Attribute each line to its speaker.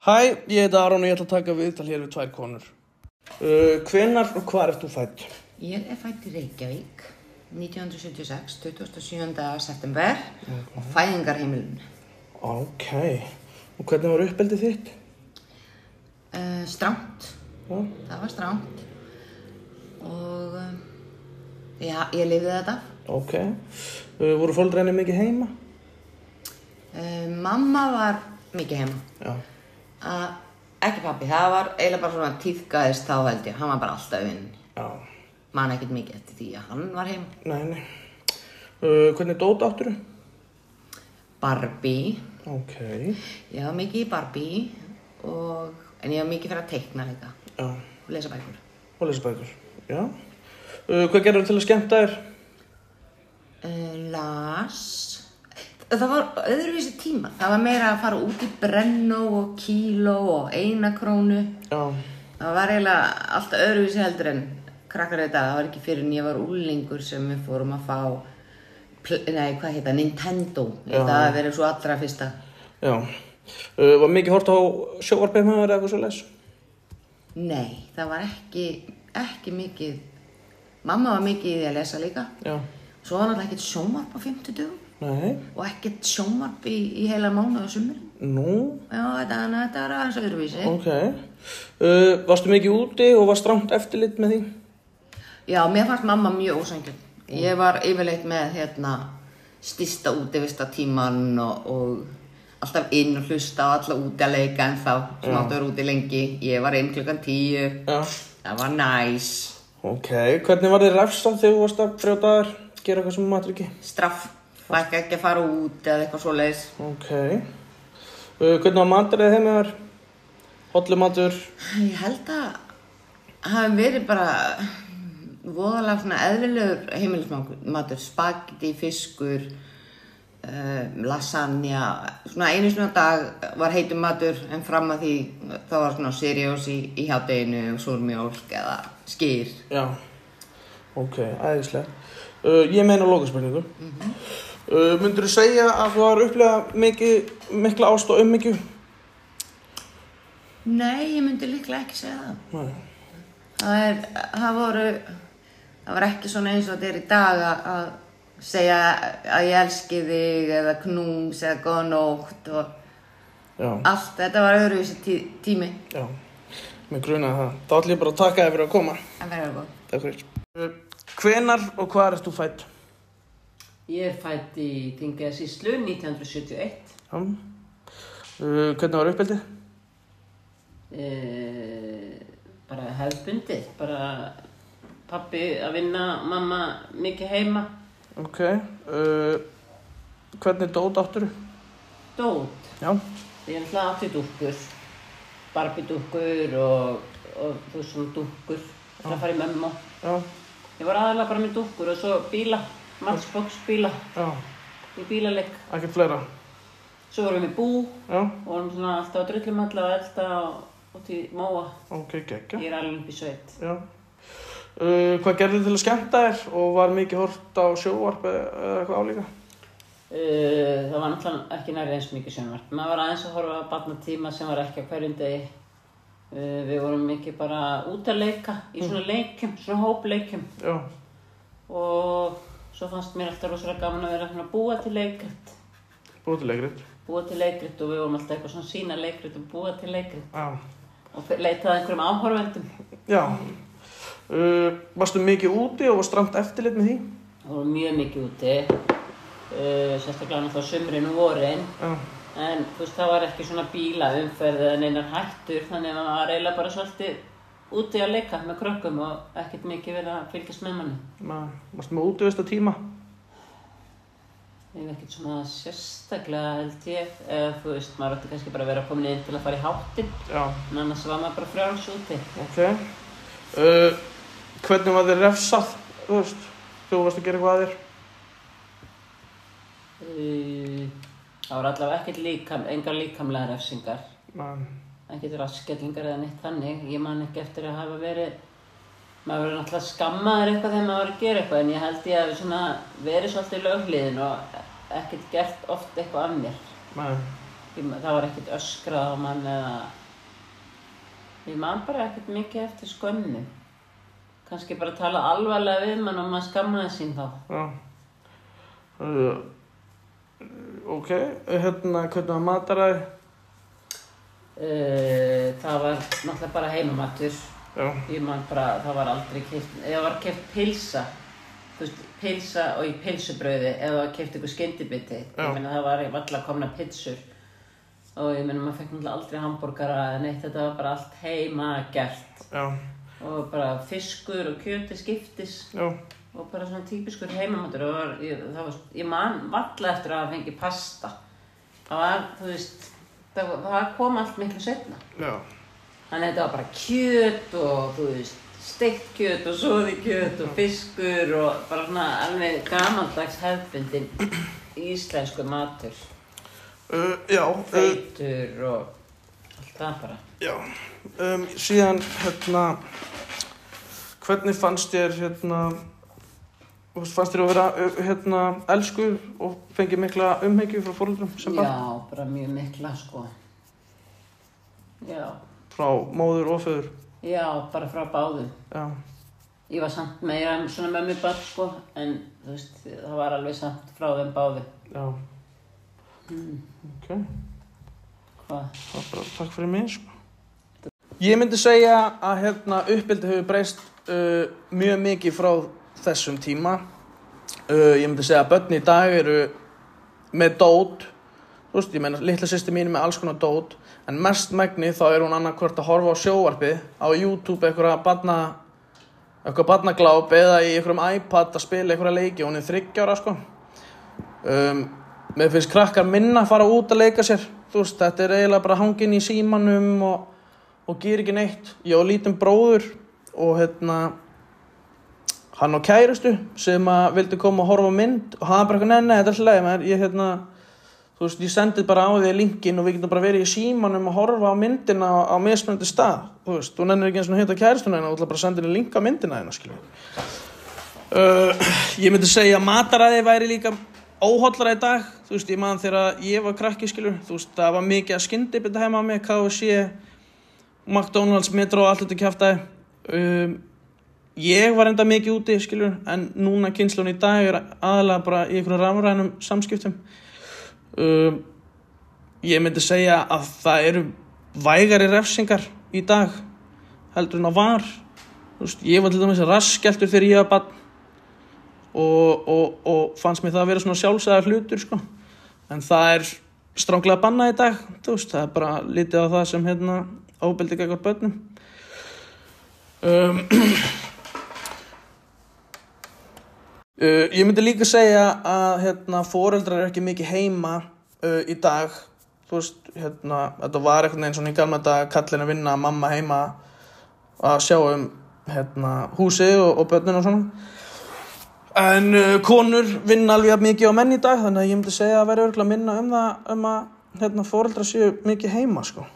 Speaker 1: Hæ, ég heiti Aron og ég ætla að taka viðtal hér við tvær konur. Uh, hvenar og hvar ert þú fætt?
Speaker 2: Ég er fætt í Reykjavík 1976, 27. september og fæðingarheimilun.
Speaker 1: Ok, og hvernig var uppeldið þitt?
Speaker 2: Uh, stránt,
Speaker 1: Já,
Speaker 2: það var stránt og uh, já, ég lifði þetta.
Speaker 1: ok. Uh, voru fólk reynið mikið heima?
Speaker 2: Uh, mamma var mikið heima,
Speaker 1: Já,
Speaker 2: uh, ekki pappi, það var eiginlega bara svona tíðgæðist þá held ég, hann var bara alltaf vinn.
Speaker 1: já,
Speaker 2: Man ekkert mikið eftir því að hann var heima.
Speaker 1: nei, nei. Uh, hvernig dót átturu?
Speaker 2: Barbie,
Speaker 1: Ok,
Speaker 2: ég var mikið í Barbie og, en ég var mikið fyrir að teikna líka
Speaker 1: já,
Speaker 2: og lesa bækur.
Speaker 1: og lesa bækur, já. Uh, hvað gerður til að skemmta þér?
Speaker 2: Uh, las það var öðruvísi tíma það var meira að fara út í brennó og kíló og eina krónu
Speaker 1: Já,
Speaker 2: það var eiginlega allt öðruvísi heldur en krakkar þetta, það var ekki fyrir en ég var úlingur sem við fórum að fá pl- nei, hvað heita, Nintendo Ég held að það að verið svo allra fyrsta
Speaker 1: já. Uh, var mikið hort á sjóarbeið með þér eða eitthvað svo les?
Speaker 2: nei, það var ekki ekki mikið mamma var mikið í því að lesa líka
Speaker 1: Já,
Speaker 2: svo var náttúrulega ekkert sjónvarp á 50 dögum
Speaker 1: nei,
Speaker 2: og ekkert sjónvarp í, í heila mánuð og sumurinn
Speaker 1: nú.
Speaker 2: Já, þetta, þannig að þetta er aðeins öðruvísi.
Speaker 1: Ok. Uh, varstu mikið úti og var strangt eftirlit með því?
Speaker 2: Já, mér fannst mamma mjög ósangjöld. Ég var yfirleitt með hérna stista útivista tíman og, og alltaf inn og hlusta á alla úti að leika en þá sem áttu að vera úti lengi. Ég var einn klukkan tíu.
Speaker 1: Já.
Speaker 2: Það var næs.
Speaker 1: Ok, hvernig var þið refsað þegar þú varst að frjóta þér? Gera eitthvað sem þú matur ekki?
Speaker 2: Straff. Lækka ekki að fara út eða eitthvað svoleiðis.
Speaker 1: Ok. Uh, hvernig var maturðið heim með þér? Hollumatur?
Speaker 2: Ég held að hafi verið bara voðalega svona eðlilegur heimilismatur, spagetti, fiskur, uh, lasagna, svona einu svona dag var heitum matur en fram að því þá var svona seriós í, í hjáteginu og súrmjólk eða skýr.
Speaker 1: Já. Ok, æðislega. Uh, ég meina lokaspurningu. Mm -hmm. uh, Myndur þú segja að þú var upplega mikið, mikla ást og ummyggju?
Speaker 2: Nei, ég myndi líklega ekki segja það.
Speaker 1: Nei.
Speaker 2: Það, er, það voru, það var ekki svona eins og þetta er í dag að- að segja að ég elski þig eða knús eða góða nótt og
Speaker 1: Já.
Speaker 2: allt, þetta var öðruvísi tí tími
Speaker 1: Já. Mér grunaði það. Þá ætlum ég bara að taka þér fyrir að koma.
Speaker 2: en verður góð.
Speaker 1: Takk fyrir. Hvenar og hvað erst þú fætt?
Speaker 3: Ég er fætt í Þingasíslu 1971.
Speaker 1: Já. Uh, hvernig var uppeldið?
Speaker 3: Eh, bara hefðbundið, bara pappi að vinna, mamma mikið heima.
Speaker 1: Ok. Uh, hvernig dót átturu?
Speaker 3: Dót,
Speaker 1: Já.
Speaker 3: ég er alltaf átti dúkkur, barbidúkkur og, og þú veist svona dúkkur. Það að fara í mömmu.
Speaker 1: Já.
Speaker 3: Ég var aðalega bara með dúkkur og svo bíla, matchbox-bíla
Speaker 1: Já.
Speaker 3: í bílaleik.
Speaker 1: Ekkert fleira.
Speaker 3: Svo vorum við í bú og
Speaker 1: Já.
Speaker 3: vorum svona alltaf að drullum alltaf að elda og út í móa.
Speaker 1: Ok, geggja.
Speaker 3: Ég er alveg upp í sveit.
Speaker 1: Já. Uh, hvað gerðið til að skemmta þér og var mikið hort á sjóvarp eða eða eitthvað álíka?
Speaker 3: Uh, það var náttúrulega ekki nærið eins mikið sjónvarp. Maður var aðeins að horfa að batna tíma sem var ekki á hverjum degi. Uh, við vorum mikið bara út að leika í svona leikjum, svona hópleikjum.
Speaker 1: Já.
Speaker 3: Og svo fannst mér alltaf rosalega gaman að vera svona að búa til leikrit.
Speaker 1: Bútilegrið.
Speaker 3: Búa til leikrit og við vorum alltaf eitthvað svona sína leikrit og búa til leikrit.
Speaker 1: Já.
Speaker 3: Og fe- leitaði að einhverjum áhorvendum.
Speaker 1: Já. Uh, varstu mikið úti og var stramt eftirlit með því?
Speaker 3: Það voru mjög mikið úti. Uh, sérstaklega náttúrulega sumrin og vorin.
Speaker 1: Já.
Speaker 3: En þú veist, það var ekki svona bílaumferð eða neinar hættur, þannig að maður var eiginlega bara svolítið úti að leika með krökkum og ekkert mikið verið að fylgjast með manni.
Speaker 1: Ma, varstu með útivista tíma?
Speaker 3: Ég hef ekkert svona sérstaklega held ég, eða þú veist, maður átti kannski bara að vera komin inn til að fara í háttinn,
Speaker 1: Já.
Speaker 3: en annars var maður bara frjáls úti.
Speaker 1: Ok. Uh, hvernig var þér refsað, þú veist, þegar þú varst að gera eitthvað að þér?
Speaker 3: Uh, það voru allavega ekkert líkam, engar líkamlega refsingar,
Speaker 1: Man.
Speaker 3: ekkert raskellingar eða neitt þannig. Ég man ekki eftir að hafa verið, maður verið náttúrulega skammaður eitthvað þegar maður var að gera eitthvað en ég held ég að svona verið svolítið lögliðin og ekkert gert oft eitthvað af mér.
Speaker 1: Man.
Speaker 3: Ég, man- það var ekkert öskrað á mann eða ég man bara ekkert mikið eftir skömmu kannski bara tala alvarlega við mann og maður skammaði sín þá
Speaker 1: Já. Uh, ok, hérna, hvernig var mataræði?
Speaker 3: uh, það var náttúrulega bara heimamatur
Speaker 1: Já,
Speaker 3: ég man bara, það var aldrei keft eða var keft pilsa þú veist, pilsa og í pilsubröði eða var keft ykkur skyndibiti
Speaker 1: Já.
Speaker 3: ég meina það var valla komna pitsur og ég meina maður fekk náttúrulega aldrei hambúrgara eða neitt, þetta var bara allt heima gert
Speaker 1: já,
Speaker 3: og bara fiskur og kjöti skiptis
Speaker 1: já,
Speaker 3: og bara svona típiskur heimamatur og var, ég, það var, ég man valla eftir að fengi pasta það var, þú veist það, það kom allt miklu setna
Speaker 1: já,
Speaker 3: þannig að þetta var bara kjöt og þú veist steikt kjöt og soði kjöt og fiskur og bara svona alveg gamaldags hefbundin íslensku matur
Speaker 1: uh, já, uh,
Speaker 3: feitur og allt það bara
Speaker 1: já, um, síðan, hérna, hvernig fannst þér, hérna, þú veist, fannst þér að vera, uh, hérna, elsku og fengið mikla umhengju frá fóröldrum sem bara
Speaker 3: já, bara mjög mikla sko já,
Speaker 1: frá móður og föður,
Speaker 3: já, bara frá báðum
Speaker 1: já,
Speaker 3: ég var samt meira svona með mér bara sko en þú veist, það var alveg samt frá þeim báðum
Speaker 1: já, ok.
Speaker 3: hvað,
Speaker 1: Það var bara takk fyrir mig, sko. Ég myndi segja að hérna, uppbyldi hefur breyst uh, mjög mikið frá þessum tíma. Uh, ég myndi segja að börn í dag eru með dót. Þú veist, ég meina, litla sýsti mín er með alls konar dót. En mest megni þá er hún annarkvort að horfa á sjóvarpið, á YouTube einhverja barna, eitthvað barnagláp eða í einhverjum iPad að spila einhverja leiki. Hún er þryggjára, sko. Um, mér finnst krakkar minna að fara út að leika sér. Þú veist, þetta er eiginlega bara hangin í símanum og, og gýr ekki neitt. Ég á lítinn bróður og hérna, hann og kærustu sem að vildi koma og horfa á mynd og hann bara eitthvað, nei, nei, þetta er alltaf leið, maður, ég hérna, þú veist, ég sendið bara á því linkin og við getum bara verið í símanum og horfa á myndina á, á mismunandi stað. Þú veist, þú nennir ekki eins og hitta kærustuna hérna, þú ætla bara að senda henni link á myndina hérna, skiljum. Uh, ég myndi segja að mataræði væri líka óhollara í dag, þú veist, ég man þegar ég var krakki, skilur, þú veist, það var mikið að skyndi byrja heima á mig, KFC, McDonalds, Metro og allt þetta kjaftaði. Um, ég var enda mikið úti, skilur, en núna kynslun í dag er aðalega bara í einhverjum rafrænum samskiptum. Um, ég myndi segja að það eru vægari refsingar í dag heldur en að var. Þú veist, ég var til dæmis raskjæltur þegar ég var barn og, og, og fannst mér það að vera svona sjálfsæðar hlutur sko. en það er stránglega bannað í dag þú veist, það er bara litið á það sem hérna, ábeldi gegn börnum um, uh, ég myndi líka segja að hérna, foreldrar eru ekki mikið heima uh, í dag þú veist, hérna, þetta var einhvern veginn svona í gamla dag kallin að vinna, mamma heima að sjá um hérna, húsið og, og börnin og svona En uh, konur vinna alveg jafn mikið á menn í dag þannig að ég myndi segja að vera örgulega minna um það um að hérna, fóreldra séu mikið heima sko.